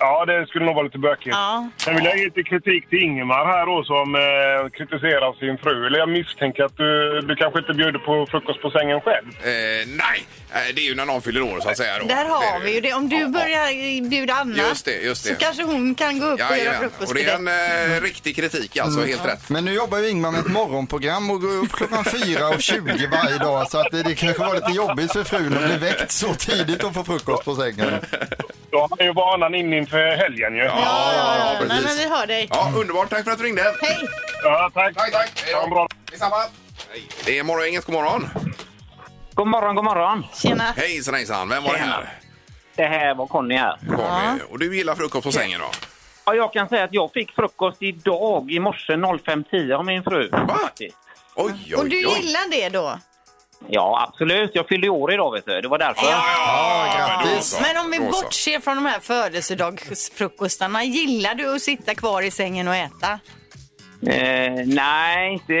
H: Ja, det skulle nog vara lite bökigt.
C: Ja.
H: Sen vill jag ge lite kritik till Ingemar här då som eh, kritiserar sin fru. Eller jag misstänker att du, du kanske inte bjuder på frukost på sängen själv.
B: Eh, nej, eh, det är ju när någon fyller år så att säga. Då.
C: Där
B: Det
C: har
B: är
C: vi ju det. Om du
B: Ja, ja.
C: börjar bjuda Anna
B: Just det, just det.
C: så kanske hon kan gå upp och göra
B: Jajamän.
C: frukost
B: Och
C: för
B: det
C: dig. Mm.
B: är en eh, riktig kritik alltså, helt rätt.
D: Men nu jobbar ju Ingmar med ett morgonprogram och går upp klockan 4.20 varje dag så att det, det kanske var lite jobbigt för frun att bli väckt så tidigt och få frukost på sängen.
H: Då har han ju vanan in inför helgen ju. Ja,
C: Ja, ja, ja.
B: precis.
C: Nej, men vi hör dig.
B: Ja, underbart. Tack för att du ringde.
C: Hej!
H: tack.
B: Tack, tack. Hej
H: Ha en
B: då.
H: bra
B: Detsamma. Hej. Det är Morgongänget. God morgon.
J: God morgon, god morgon.
C: Tjena.
B: Hejsan, hejsan. Vem var det här?
J: Det här var Conny här.
B: Conny. Och du gillar frukost på sängen då?
J: Ja, jag kan säga att jag fick frukost idag i morse 05.10 av min fru.
B: Va?
J: faktiskt.
B: Oj, oj, oj.
C: Och du gillar det då?
J: Ja, absolut. Jag fyllde år idag, vet du. Det var därför.
B: Ja, men då så.
C: Men om vi
B: Då så.
C: bortser från de här födelsedagsfrukostarna, gillar du att sitta kvar i sängen och äta?
K: Eh, nej, inte,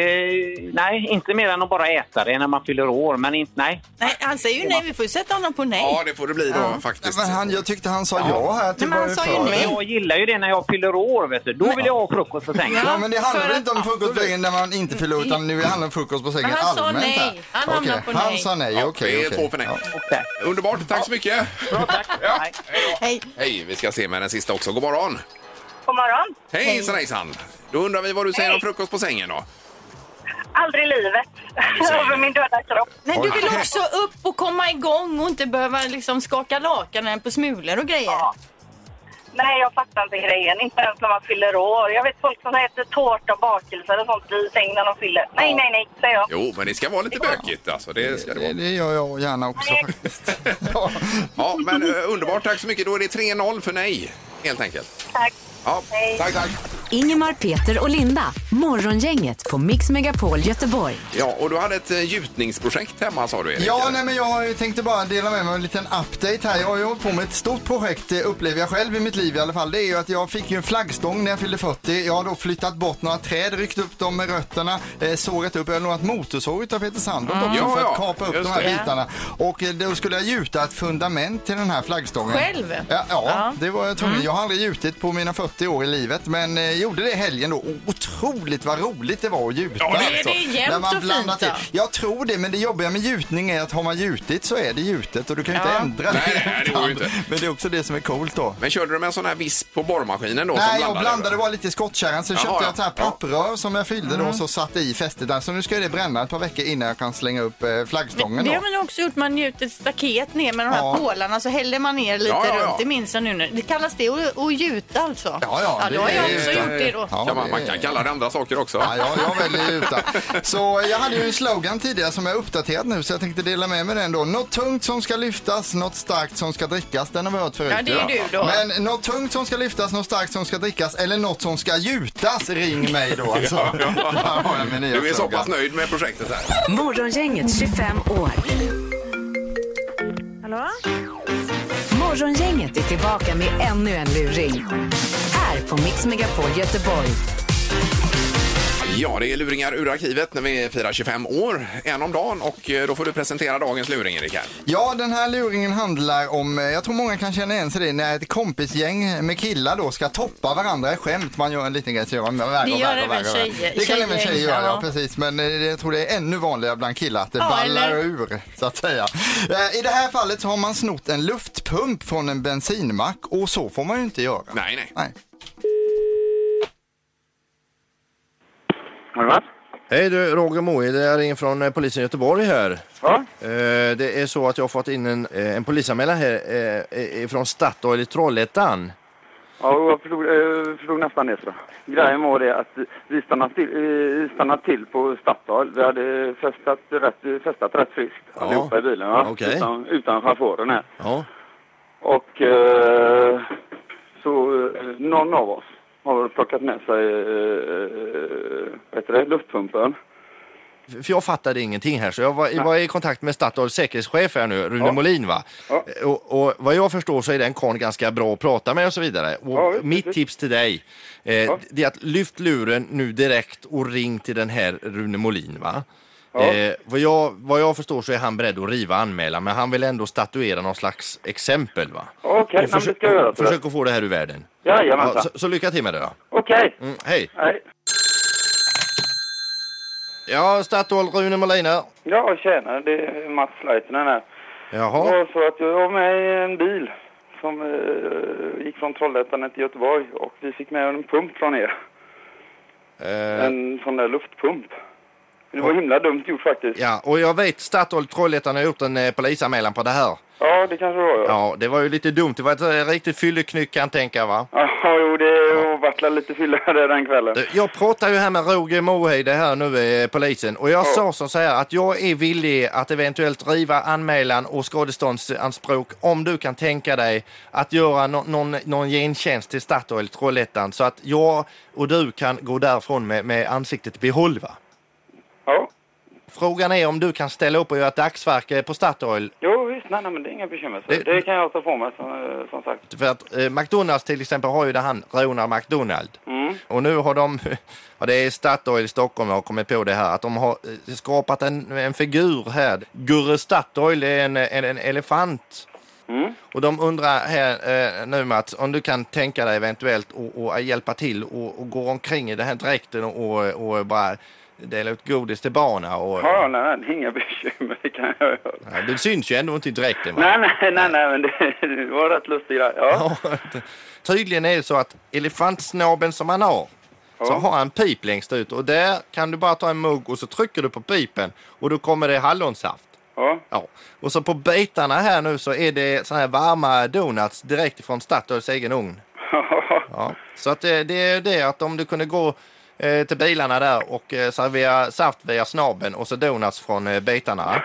K: nej, inte mer än att bara äta det när man fyller år. Men inte, nej.
H: Nej, han säger ju nej. Vi får ju sätta honom på nej.
B: Ja, det får det bli då faktiskt.
D: Men han, jag tyckte han sa ja här
H: Nej,
D: till
H: men han
D: vad
H: sa
D: jag
H: ju
D: sa.
H: nej.
K: Jag gillar ju det när jag fyller år. Vet du. Då vill jag ha frukost på sängen.
D: Ja, men det handlar
H: för
D: väl
H: att-
D: inte om frukost på sängen när man inte fyller år, utan nu handlar det om frukost på sängen
H: Men han sa
D: allmänt.
H: nej.
D: här.
H: Han hamnar
D: Okej,
H: på
D: Han
H: nej.
D: sa nej,
B: Ja,
D: okej.
B: det är
D: okej.
B: två för nej.
K: Okej.
B: Underbart, tack så mycket.
K: Bra, tack.
B: [laughs] Ja.
K: Nej.
H: Hej.
B: Hej, vi ska se med den sista också. God morgon.
E: God morgon.
B: Hej, hejsan hejsan. Då undrar vi vad du säger om frukost på sängen då.
E: Aldrig i livet.
B: du säger det.
E: Över min döda kropp.
H: Men du
B: Oj.
H: vill också upp och komma igång och inte behöva liksom skaka lakanen på smulor och grejer.
E: Ja. Nej, jag fattar inte grejen. Inte ens när man fyller år. Jag vet folk som äter tårta och bakelser och sånt i säng när de fyller. Nej, nej, nej, säger jag.
B: Jo, men det ska vara lite bökigt alltså. Det ska det
D: Det,
B: vara.
D: det gör jag gärna också
E: Nej.
D: faktiskt. Ja.
B: Ja, men eh, underbart, tack så mycket. Då är det 3-0 för nej, helt enkelt.
E: Tack.
B: Ja,
E: Hej.
B: tack, tack.
A: Ingemar, Peter och Linda. Morgongänget på Mix Megapol Göteborg.
B: Ja, och du hade ett eh, gjutningsprojekt hemma sa du Erik.
D: Ja,
B: eller?
D: nej, men jag har ju- tänkte bara dela med mig av en liten update här. Jag har ju hållit på med ett stort projekt, eh, upplever jag själv i mitt liv i alla fall. Det är ju att jag fick ju en flaggstång när jag fyllde 40. Jag har då flyttat bort några träd, ryckt upp dem med rötterna, eh, sågat upp. Jag har lånat motorsåg utav Peter Sandholt också
B: Mm. Ja,
D: för
B: ja.
D: att kapa upp
B: Just
D: de här
B: det.
D: bitarna. Och eh, då skulle jag gjuta ett fundament till den här flaggstången.
H: Själv?
D: Ja, ja,
H: Ja. Mm.
D: det var jag tvungen. Jag har aldrig gjutit på mina 40 år i livet, men eh, gjorde det i helgen då. Otroligt vad roligt det var att gjuta. Alltså,
B: Ja, det är
H: det. Det är jämnt
D: När man
H: och
D: blandar
H: fint,
D: till. Jag tror det, men det jobbiga med gjutning är att har man gjutit så är det gjutet och du kan ju inte
H: Ja.
D: ändra
B: Nej, nej, nej, det går ju inte.
D: Men det är också det som är coolt då.
B: Men körde du med en sån här visp på borrmaskinen då?
D: Nej,
B: som
D: jag blandade
B: eller?
D: bara lite i skottkärran. Sen
B: Jaha,
D: köpte
B: ja.
D: jag ett här
B: Ja. Mm.
D: papprör som jag fyllde då och så satte i fästet där. Så nu ska ju det bränna ett par veckor innan jag kan slänga upp eh, flaggstången
H: Det
D: då.
H: har man också gjort. Man gjuter ett staket ner med de här
D: Ja.
H: pålarna så häller man ner lite
B: Ja, ja, ja.
H: runt. Det minns jag nu. när- Det kallas det att att gjuta alltså?
D: Ja, ja, det
H: då har jag
D: är
H: också
D: gjuta.
H: gjort det då.
D: Ja,
B: Kan man, man
D: det-
B: kan kalla det andra saker också.
D: Eh, Ja, jag, jag väljer utan. Så jag hade ju en slogan tidigare som jag har uppdaterat nu så jag tänkte dela med mig den då. Något tungt som ska lyftas, något starkt som ska drickas. Den har vi hört förut.
H: Ja, det är ju du då.
D: Men något tungt som ska lyftas, något starkt som ska drickas eller något som ska gjutas, ring mig
B: [laughs]
D: då alltså. Där har jag min nya
B: Du är så
D: slogan.
B: pass nöjd med projektet här.
A: Morgongänget 25 år.
E: Hallå?
A: Morgongänget är tillbaka med ännu en luring. Här på Mix Megapol Göteborg.
B: Ja, det är luringar ur arkivet när vi firar 25 år, en om dagen. Och eh, då får du presentera dagens luring, Erik. här.
D: Ja, den här luringen handlar om, eh, jag tror många kan känna igen sig i det, när ett kompisgäng med killar då ska toppa varandra i skämt. Man gör en liten grej så gör man värre
H: Det
D: och
H: gör
D: värre och
H: även
D: värre. och värre.
H: tjejer-
D: Det kan även
H: tjejgäng,
D: tjejer göra, ja
H: ja.
D: precis. Men eh, jag tror det är ännu vanligare bland killar att det
H: Ja,
D: ballar
H: eller?
D: ur, så att säga. Eh, I det här fallet så har man snott en luftpump från en bensinmack och så får man ju inte göra.
B: Nej, nej.
D: Nej.
G: Ja,
L: Hej du, Roger Moe, det är ringen från eh, polisen i Göteborg här.
G: ja.
L: Eh, det är så att jag har fått in en, eh, en polisanmälan här eh, eh, från Statoil i Trollhättan.
G: ja och jag förstod, eh, förstod nästan det. Så. Grejen var det att vi stannade till, eh, stannade till på Statoil. Vi hade festat rätt, festat rätt friskt
L: Ja.
G: allihopa i bilen. Va?
L: Okej.
G: Utan, utan chauffören här.
L: Ja.
G: Och eh, så eh, någon av oss har plockat med sig eh, vad heter det, luftpumpen.
L: F- För jag fattade ingenting här, så jag var, jag var i kontakt med Statoils säkerhetschef här nu, Rune Molin va?
G: Ja.
L: Eh, Och, och vad jag förstår så är den karln ganska bra att prata med och så vidare. Och
G: Ja, visst,
L: mitt
G: visst.
L: tips till dig, eh, det är att lyft luren nu direkt och ring till den här Rune Molin va? Eh, vad, jag, vad jag förstår så är han beredd att riva anmälan, men han vill ändå statuera någon slags exempel va?
G: Okej, okay,
L: Och
G: det ska jag göra. tror jag.
L: försök att få det här ur världen. Ja,
G: Jajamensan.
L: så, så lycka till med det då.
G: Okej.
L: Mm, hej!
G: Nej.
L: Ja, Statoil Rune Molin här.
G: Ja, tjena. Det är Mats Leitinen här. Det
L: Jaha,
G: var så att jag var med i en bil som eh, gick från Trollhättan ner till Göteborg och vi fick med en pump från er.
L: eh,
G: En sån där luftpump. Det var himla dumt gjort faktiskt.
L: ja, och jag vet Statoil Trollhättan har gjort en eh, polisanmälan på det här.
G: Ja, det kanske det var ja.
L: Ja, det var ju lite dumt. Det var ett eh, riktigt fylleknyck kan jag tänka va?
G: Ja, jo det vart väl lite fylla där den kvällen.
L: Eh, Jag pratar ju här med Roger Mohede här nu, eh, polisen, och jag sa som så här att jag är villig att eventuellt riva anmälan och skadeståndsanspråk om du kan tänka dig att göra no- någon, någon gentjänst till Statoil Trollhättan så att jag och du kan gå därifrån med, med ansiktet i behåll va?
G: Ja,
L: Frågan är om du kan ställa upp och göra ett dagsverke på Statoil?
G: jo visst. Nej, nej, men det är inga bekymmer. Så. Det kan jag ta på mig, som, eh, som sagt.
L: För att eh, McDonalds till exempel har ju där han rånar McDonald.
G: Mm.
L: Och nu har de, ja, det är Statoil i Stockholm jag har kommit på det här, att de har eh, skapat en, en figur här. Gurre Statoil är en, en, en elefant. Och de undrar här eh, nu Mats, om du kan tänka dig eventuellt och, och hjälpa till och, och gå omkring i den här dräkten och, och, och bara dela ut godis till barnen. Och,
G: Ja, nej, nej, det är inga bekymmer. Det kan jag göra.
L: Ja, det syns ju ändå inte i dräkten. va?
G: Nej, nej, nej, nej, men det, det var rätt lustig grej. Ja.
L: Tydligen är det så att elefantsnabeln som han har så har han pip längst ut och där kan du bara ta en mugg och så trycker du på pipen och då kommer det hallonsaft.
G: Ja.
L: Ja. Och så på bitarna här nu så är det såna här varma donuts direkt från Statoils egen ugn. Ja. Så att eh, det, det är ju det att om du kunde gå eh, till bilarna där och eh, servera saft via snabeln och så donuts från
G: [laughs]
L: eh, bitarna.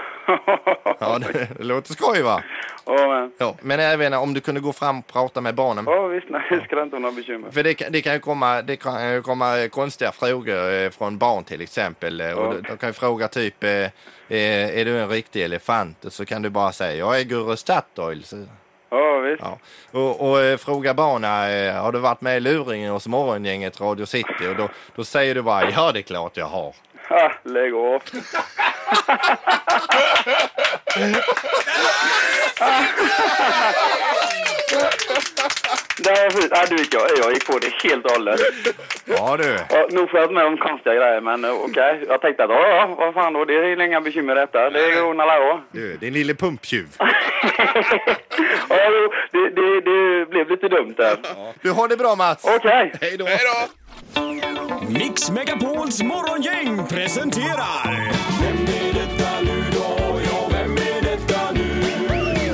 L: Ja, det, det låter skoj va?
G: Ja, men,
L: Ja, men även om du kunde gå fram och prata med barnen.
G: ja visst, nej, det ska inte ha några bekymmer.
L: För det, kan- det, kan ju komma, det kan ju komma eh, konstiga frågor eh, från barn till exempel. Eh, Och
G: Ja.
L: de, de kan ju fråga typ, eh, eh, är du en riktig elefant? Och Så kan du bara säga, jag är Gurre Statoil. Så,
G: Ja, visst.
L: ja. och, och eh, fråga barnen, eh, har du varit med i luringen hos morgongänget Radio City? Och då, då säger du bara, ja det är klart jag har.
G: Ha, lägg av. Det var fint. Ja, du vet, jag, jag gick på det helt och hållet.
L: Ja du.
G: Ja, nog för jag varit med om konstiga grejer, men eh, okej. Jag tänkte att ja, ja, vad fan då, det är inga bekymmer detta. Det ordnar alla år.
L: Du, din lille pumptjuv.
G: Ja, jo, det, det, det blev lite dumt där.
L: Du har det bra Mats.
G: Okej.
L: Hej då.
M: Mix Megapols morgongäng presenterar... Vem är detta nu då? Ja, vem är detta nu?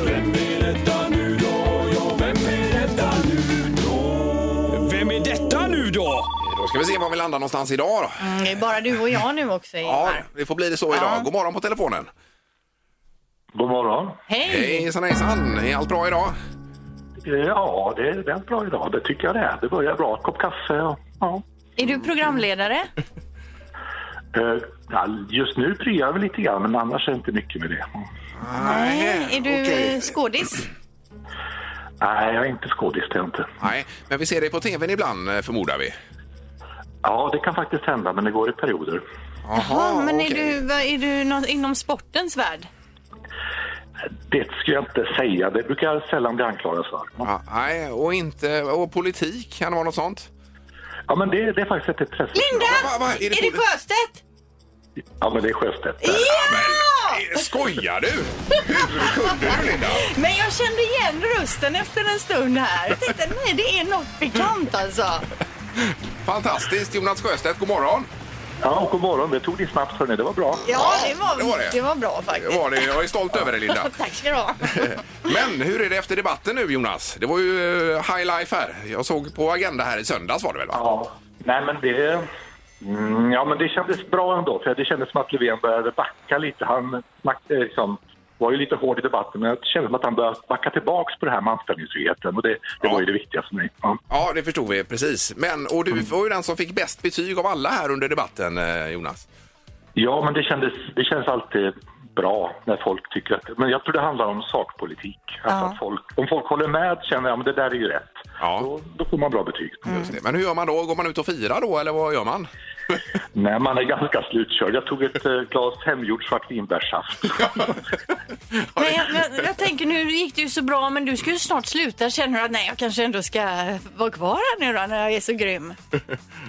M: Vem är detta nu då? Ja, vem är detta nu då? Vem är detta nu då?
B: Då ska vi se var vi landar någonstans idag då.
C: Mm, det är bara du och jag nu också,
B: Ja,
C: Ingmar.
B: det får bli det så idag. God morgon på telefonen.
N: God morgon.
C: Hej!
B: Hejsan hejsan, är allt bra idag?
N: Eh, Ja, det är väldigt bra idag. Det tycker jag det är. Det börjar bra. Kopp kaffe och... Ja.
C: Är du programledare?
N: Eh, ja, Just nu pryar jag väl lite grann, men annars är det inte mycket med det.
C: Nej. Är du eh, skådis?
N: Nej, jag är inte skådis, det är jag inte.
B: Nej, men vi ser dig på tvn ibland eh, förmodar vi.
N: Ja, det kan faktiskt hända, men det går i perioder.
C: Ja, men är du, vad- är du nå- inom sportens värld?
N: Det skulle jag inte säga. Det brukar jag sällan bli anklagad för.
B: Ja, nej, och, inte, och politik, kan det vara något sånt?
N: Ja, men det, det är faktiskt ett intresse.
C: Linda!
B: Va, va, är det
C: är det Sjöstedt?
N: Ja, men det är Sjöstedt.
C: Ja!
B: eh, Skojar du? Hur kunde du Linda?
C: Men jag kände igen rösten efter en stund här. Jag tänkte, nej, det är något bekant alltså.
B: Fantastiskt! Jonas Sjöstedt, god morgon!
N: Ja, och god morgon. Det tog ni snabbt, hörni. Det var bra.
C: Ja, det var,
B: det var det.
C: det var bra faktiskt.
B: Det var det. Jag är stolt över dig Linda.
C: Tack ska du ha.
B: [laughs] Men hur är det efter debatten nu Jonas? Det var ju eh, high life här. Jag såg på Agenda här i söndags var det väl? Va?
N: Ja, nej men det... Mm, ja, men det kändes bra ändå. För det kändes som att Löfven började backa lite. Han snack- eh, liksom, var ju lite hård i debatten, men det kändes som att han började backa tillbaks på det här med anställningsfriheten. Och det, det var ju det viktiga för mig. Ja.
B: Ja, det förstod vi precis. Men, och du var ju den som fick bäst betyg av alla här under debatten eh, Jonas.
N: Ja, men det kändes, det känns alltid bra när folk tycker att... Men jag tror det handlar om sakpolitik. Alltså att folk, om folk håller med känner jag att det där är ju rätt. Då, då får man bra betyg.
B: Just det. Men hur gör man då? Går man ut och firar då eller vad gör [laughs] man?
N: Nej, man är ganska slutkörd. Jag tog ett eh, glas hemgjord svart vinbärssaft.
C: Men jag, men jag tänker nu gick det ju så bra men du ska ju snart sluta. Känner du att nej jag kanske ändå ska vara kvar här nu då när jag är så grym?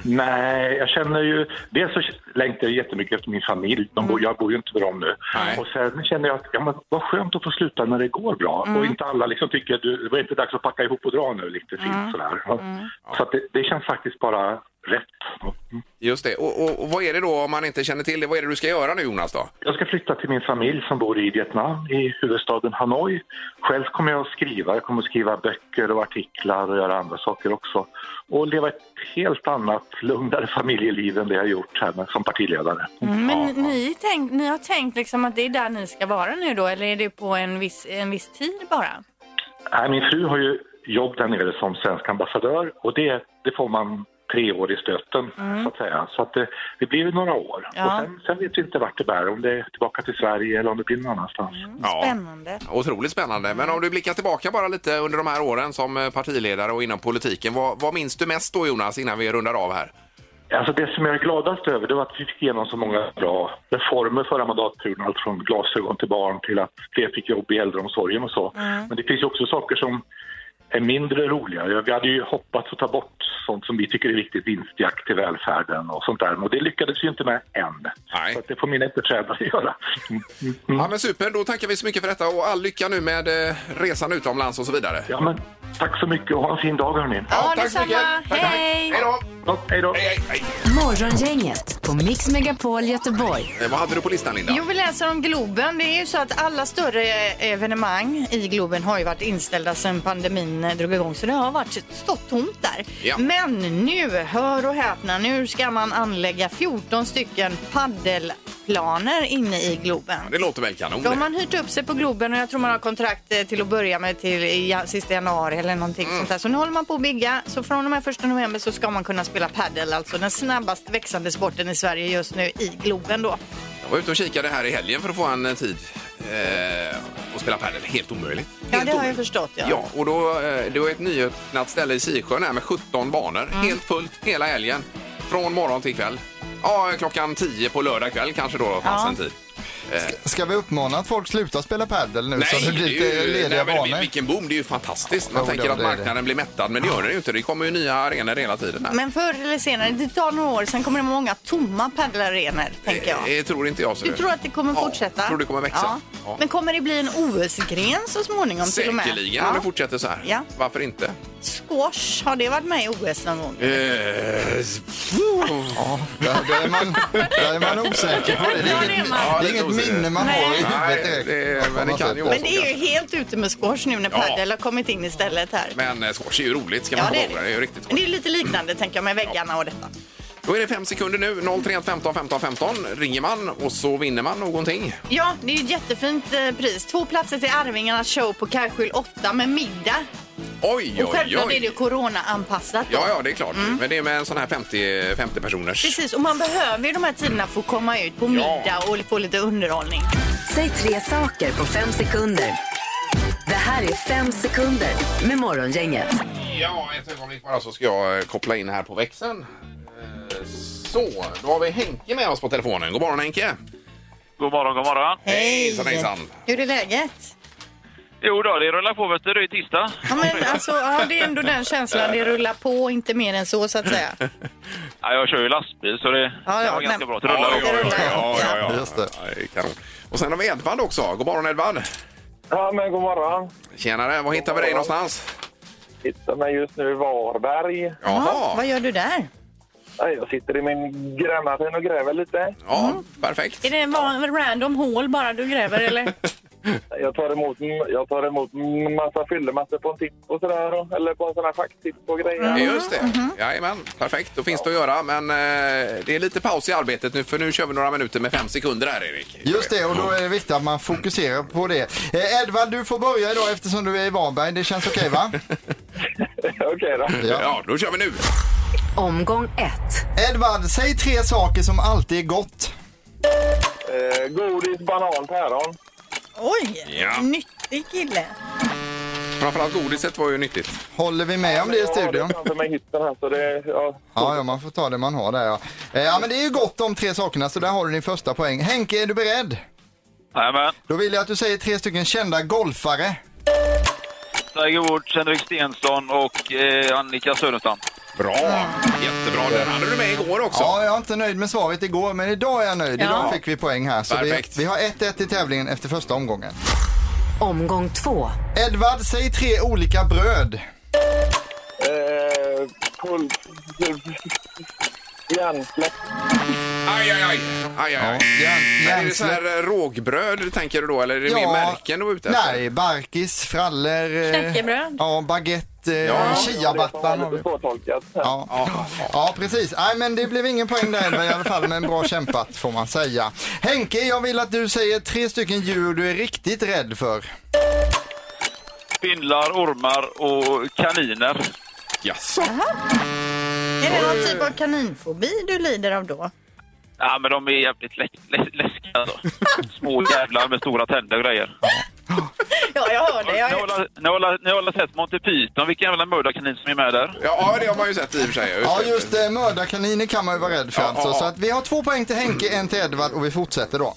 N: Nej, jag känner ju... Dels så längtar jag jättemycket efter min familj. De
G: Mm.
N: bor, jag bor ju inte med dem nu. Och sen känner jag att ja, men vad skönt att få sluta när det går bra.
G: Mm.
N: Och inte alla liksom tycker att du- det var inte dags att packa ihop och dra nu lite fint
G: Mm.
N: sådär. Ja. Så att det, det känns faktiskt bara rätt.
B: Just det. Och, och, och vad är det då om man inte känner till det? Vad är det du ska göra nu Jonas då?
N: Jag ska flytta till min familj som bor i Vietnam, i huvudstaden Hanoi. Själv kommer jag att skriva. Jag kommer att skriva böcker och artiklar och göra andra saker också. Och leva ett helt annat, lugnare familjeliv än det jag gjort här med, som partiledare.
C: Mm, Men ni, tänk, ni har tänkt liksom att det är där ni ska vara nu då eller är det på en viss, en viss tid bara?
N: Nej, min fru har ju jobb där nere som svensk ambassadör och det, det får man tre år i stöten,
O: Mm.
N: så att säga. Så att det, det blir ju några år.
O: Ja.
N: Och sen, sen vet vi inte vart det bär, om det är tillbaka till Sverige eller om det blir någon annanstans.
B: Spännande. Otroligt spännande. Men om du blickar tillbaka bara lite under de här åren som eh, partiledare och inom politiken. Vad, vad minns du mest då Jonas innan vi rundar av här?
N: Alltså det som jag är gladast över det var att vi fick igenom så många bra reformer förra mandatperioden. Allt från glasögon till barn till att fler fick jobb i äldreomsorgen och så.
O: Mm.
N: Men det finns ju också saker som är mindre roliga. Vi hade ju hoppats att ta bort sånt som vi tycker är viktigt, vinstjakt till välfärden och sånt där. Och det lyckades vi ju inte med än. Så att det får mina efterträdare [laughs] göra.
C: Mm.
B: Ja men super, då tackar vi så mycket för detta och all lycka nu med eh, resan utomlands och så vidare.
N: Ja, men tack så mycket och ha en fin dag hörni.
B: Ja,
O: tack så mycket. detsamma. Tack, tack. Hej. Hej
N: då. Hej då.
A: Morgongänget på Mix Megapol Göteborg.
B: Eh, Vad hade du på listan Linda?
C: Jo, vi läser om Globen. Det är ju så att alla större eh, evenemang i Globen har ju varit inställda sedan pandemin eh, drog igång. Så det har varit stått tomt där.
O: Ja.
C: Men nu, hör och häpna, nu ska man anlägga 14 stycken paddelplaner inne i Globen.
B: Det låter väl kanon
C: Då har
B: det.
C: man hyrt upp sig på Globen och jag tror man har kontrakt eh, till att börja med till i ja- sista januari eller någonting sånt där. Så nu håller man på att bygga. Så från och med 1 november så ska man kunna spela padel, alltså den snabbast växande sporten i Sverige just nu i Globen då.
B: Jag var ute och kikade här i helgen för att få en eh, tid eh, och spela padel. Helt omöjligt.
C: Ja, det har jag förstått. Ja.
B: Ja, och då, eh, det var ett nyöppnat ställe i Sisjön här med 17 banor.
C: Mm.
B: Helt fullt hela helgen. Från morgon till kväll. Ja, klockan 10 på lördag kväll kanske då fanns
D: Ja.
B: en tid. Eh,
D: Ska vi uppmana att folk slutar spela padel nu så det blir
B: det
D: lite
B: är ju-
D: lediga
B: nej, men
D: banor?
B: Vilken boom, det är ju fantastiskt. Man
D: Jo,
B: tänker
D: det-
B: att
D: det är det.
B: marknaden blir mättad, men det gör den ju inte. Det kommer ju nya arenor hela tiden. Här.
C: Men förr eller senare, det tar några år, sen kommer det många tomma padelarenor, tänker jag.
B: Det Eh, tror inte jag. så
C: Du
B: det-
C: tror att det kommer
B: Ja,
C: fortsätta?
B: tror det kommer växa. Ja.
C: Men kommer det bli en OS-gren så småningom till och med?
B: Säkerligen om det fortsätter så här.
C: Ja.
B: Varför inte?
C: Squash, har det varit med i OS någon gång?
B: Eh,
C: [laughs]
B: ja,
D: där, där, är man, där är man osäker på det. Det är
C: Ja, det är
D: inget,
C: man.
D: det är inget minne man
C: Nej.
D: har i huvudet
B: Nej,
D: direkt.
B: det, men det kan ju vara
C: Men
B: så.
C: det är ju helt ute med squash nu när
B: Ja.
C: padel har kommit in istället här.
B: Men eh, squash är ju roligt, ska
C: Ja,
B: man komma
C: det är
B: ihåg.
C: det.
B: Det är ju riktigt
C: Men det är lite liknande tänker jag med väggarna och detta.
B: Då är det fem sekunder nu. 031 15 15 15 ringer man och så vinner man någonting.
C: Ja, det är ju ett jättefint eh, pris. Två platser till Arvingarnas show på Karlsjö 8 med middag.
B: Oj,
C: och
B: oj,
C: självklart är det
B: oj.
C: ju corona-anpassat. då.
B: Ja, ja, det är klart. Men det är med en sån här 50, 50 personers.
C: Precis, och man behöver ju de här tiderna för att komma ut på middag och få lite underhållning.
A: Säg tre saker på fem sekunder. Det här är fem sekunder med Morgongänget.
B: Ja, ett ögonblick bara så ska jag eh, koppla in här på växeln. Eh, Så, då har vi Henke med oss på telefonen. God morgon Henke!
J: God morgon, god morgon.
B: Hejsan, hejsan!
C: Hur är läget?
J: Jo då, det rullar på vet du. Det är ju tisdag.
C: Ja, men alltså, ja, det är ändå den känslan. Det rullar på, inte mer än så så att
B: [laughs]
C: säga.
J: Ja, jag kör ju lastbil så det,
C: ja,
J: det var
C: men-
J: ganska bra. Det rullar.
B: Ja, ja, ja, ja, ja, ja. Just det. är kanon. Och sen har vi Edvard också. God morgon Edvard!
P: Ja, men god morgon.
B: Tjenare, var hittar vi dig någonstans?
P: Hittar mig just nu i Varberg.
C: Ja, vad gör du där?
P: Nej, Jag sitter i min grävmaskin och gräver lite.
B: Ja, perfekt.
C: Är det en van- random hål bara du gräver eller?
P: Jag tar emot, jag tar emot massa fyllemassor på en tipp och sådär. och- Eller på en sån här schacktipp och grejer.
G: Mm.
B: Just det. Jajamän, perfekt. Då finns det att göra. Men eh, det är lite paus i arbetet nu för nu kör vi några minuter med fem sekunder här Erik.
D: Just det, och då är det viktigt att man fokuserar på det. Eh, Edvard, du får börja idag eftersom du är i Varberg. Det känns okej
B: [laughs]
D: va?
P: [laughs] Okej då.
B: Ja. då kör vi nu.
A: Omgång ett.
D: Edvard, säg tre saker som alltid är gott.
P: Eh, godis, banan, päron.
C: [laughs] Oj,
B: Ja.
C: nyttig kille.
B: Framförallt godiset var ju nyttigt.
D: Håller vi med om det i
P: Jag har
D: studion?
P: det framför mig i hytten här så det... Ja.
D: Ja, ja, man får ta det man har där ja. Eh, Ja, men det är ju gott de tre sakerna så där har du din första poäng. Henke, är du beredd?
J: Jajamän.
D: Då vill jag att du säger tre stycken kända golfare.
J: Tiger Woods, Henrik Stenson och eh, Annika Sörenstam.
B: Bra! Jättebra. Den hade du med igår också.
D: Ja, jag är inte nöjd med svaret igår, men idag är jag nöjd.
B: Ja.
D: Idag fick vi poäng här. Så vi,
B: Perfekt.
D: vi har 1-1 i tävlingen efter första omgången.
A: Omgång två.
D: Edvard, säg tre olika bröd.
P: Eh, pol... Järnsläpp.
B: Aj, aj, aj. aj, aj, aj. Men är det så här eh, rågbröd du tänker du då eller är det mer märken du är ute efter?
D: Nej, barkis, frallor, eh,
P: Knäckebröd.
D: ja, baguette, eh,
B: Ja.
D: chiabattan. har vi.
P: Svårtolkat.
D: Ja. Ja. precis. Nej, men det blev ingen poäng där Edvard, i alla fall, men bra kämpat får man säga. Henke, jag vill att du säger tre stycken djur du är riktigt rädd för.
J: Spindlar, ormar och kaniner.
B: Jaså?
C: Är det någon typ av kaninfobi du lider av då?
J: Ja, men de är jävligt lä lä läskiga
D: [laughs]
J: alltså. Små jävlar med stora tänder och grejer.
C: Ja, jag hör det. Jag...
J: Ni har alla- Ni har alla- ni har alla sett Monty Python, vilken jävla mördarkanin som är med där?
B: Ja, det har man ju sett i och för sig.
D: Ja, just det. Mördarkaniner kan man ju vara rädd för
B: Ja,
D: alltså.
B: ja, ja.
D: Så att vi har två poäng till Henke, en till Edvard och vi fortsätter då.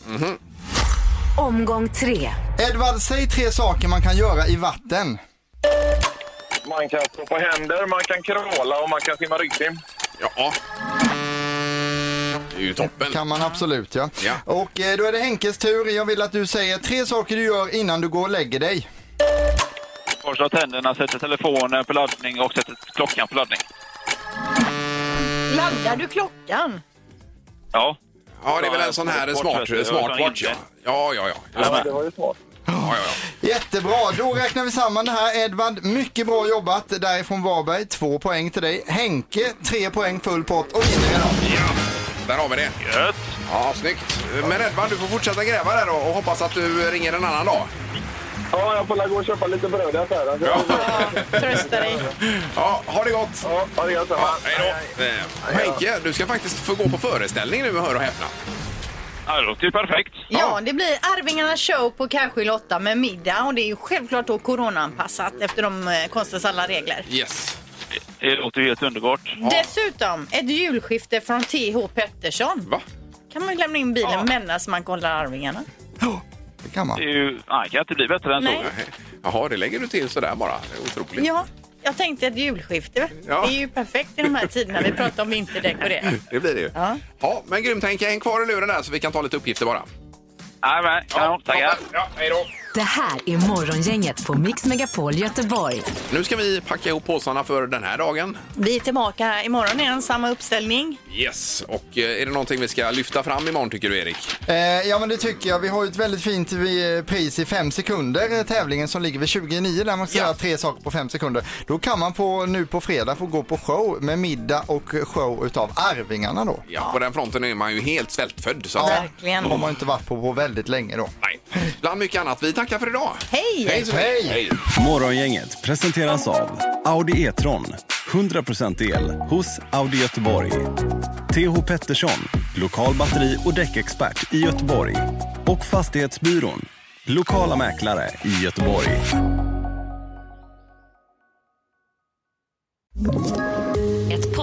A: Omgång tre.
D: Edvard, säg tre saker man kan göra i vatten.
P: Man kan stå på händer, man kan kråla och man kan simma ryggsim.
B: Ja. Det är ju toppen.
D: Kan man absolut ja.
B: Ja.
D: Och eh, då är det Henkes tur. Jag vill att du säger tre saker du gör innan du går och lägger dig.
J: Borstar tänderna, sätter telefonen på laddning och sätter klockan på laddning.
C: Laddar du klockan?
J: Ja.
B: Ja, det är väl en sån här smart, smartwatch. Ja, ja, ja. ja.
P: det var ju smart.
D: Jättebra, då räknar vi samman det här. Edvard, mycket bra jobbat därifrån Varberg. Två poäng till dig. Henke, tre poäng full pott och vinner idag.
B: Där har vi det.
J: Gött.
B: Ja, snyggt. Men Edvard, du får fortsätta gräva där och och hoppas att du ringer en annan dag.
P: Ja, jag får la gå och köpa lite bröd i affären. Ja.
C: Trösta dig.
B: [laughs] Ja, ha det gott!
P: Ja, ha det gott.
B: Ja, hej då! Eh, och Henke, du ska faktiskt få gå på föreställning nu, hör och häpna.
J: Ja, det låter ju perfekt.
C: Ja, det blir Arvingarnas show på Kärrskil 8 med middag och det är ju självklart då coronaanpassat eftersom eh, konstens alla regler.
B: Yes.
J: Det låter ju helt underbart.
C: Dessutom ett julskifte från TH Pettersson.
B: Va?
C: kan man ju lämna in bilen medan man kollar Arvingarna.
D: Det kan man.
J: Det är ju, nej, kan inte bli bättre än så.
C: Nej.
B: [laughs] Jaha, det lägger du till sådär bara. Det är otroligt.
C: Ja, jag tänkte ett julskifte.
B: Ja.
C: Det är ju perfekt i de här tiderna vi pratar om vinterdäck och
B: [laughs]
C: det.
B: Det blir det ju. Ja. men grymt Henke. Häng kvar i luren där så vi kan ta lite uppgifter bara.
J: Nej, men, ja, tackar.
B: Ja, hej då.
A: Det här är Morgongänget på Mix Megapol Göteborg.
B: Nu ska vi packa ihop påsarna för den här dagen.
C: Vi är tillbaka här imorgon igen, samma uppställning.
B: Yes. Och eh, är det någonting vi ska lyfta fram imorgon tycker du Erik?
D: Eh, ja men det tycker jag. Vi har ju ett väldigt fint vi- pris i fem sekunder. eh, Tävlingen som ligger vid 29 där man ska göra tre saker på fem sekunder. Då kan man på, nu på fredag få gå på show med middag och show utav Arvingarna då.
B: Ja, på den fronten är man ju helt svältfödd. Så
D: Ja,
B: att-
C: Mm.
D: De har man ju inte varit på på väldigt länge då.
B: Nej. Bland mycket annat. Vi tackar för idag.
C: Hej!
B: Hej! så mycket. Hej.
Q: Morgongänget presenteras av Audi E-tron. 100% el hos Audi Göteborg. TH Pettersson, lokal batteri och däckexpert i Göteborg. Och Fastighetsbyrån, lokala mäklare i Göteborg.
R: Ett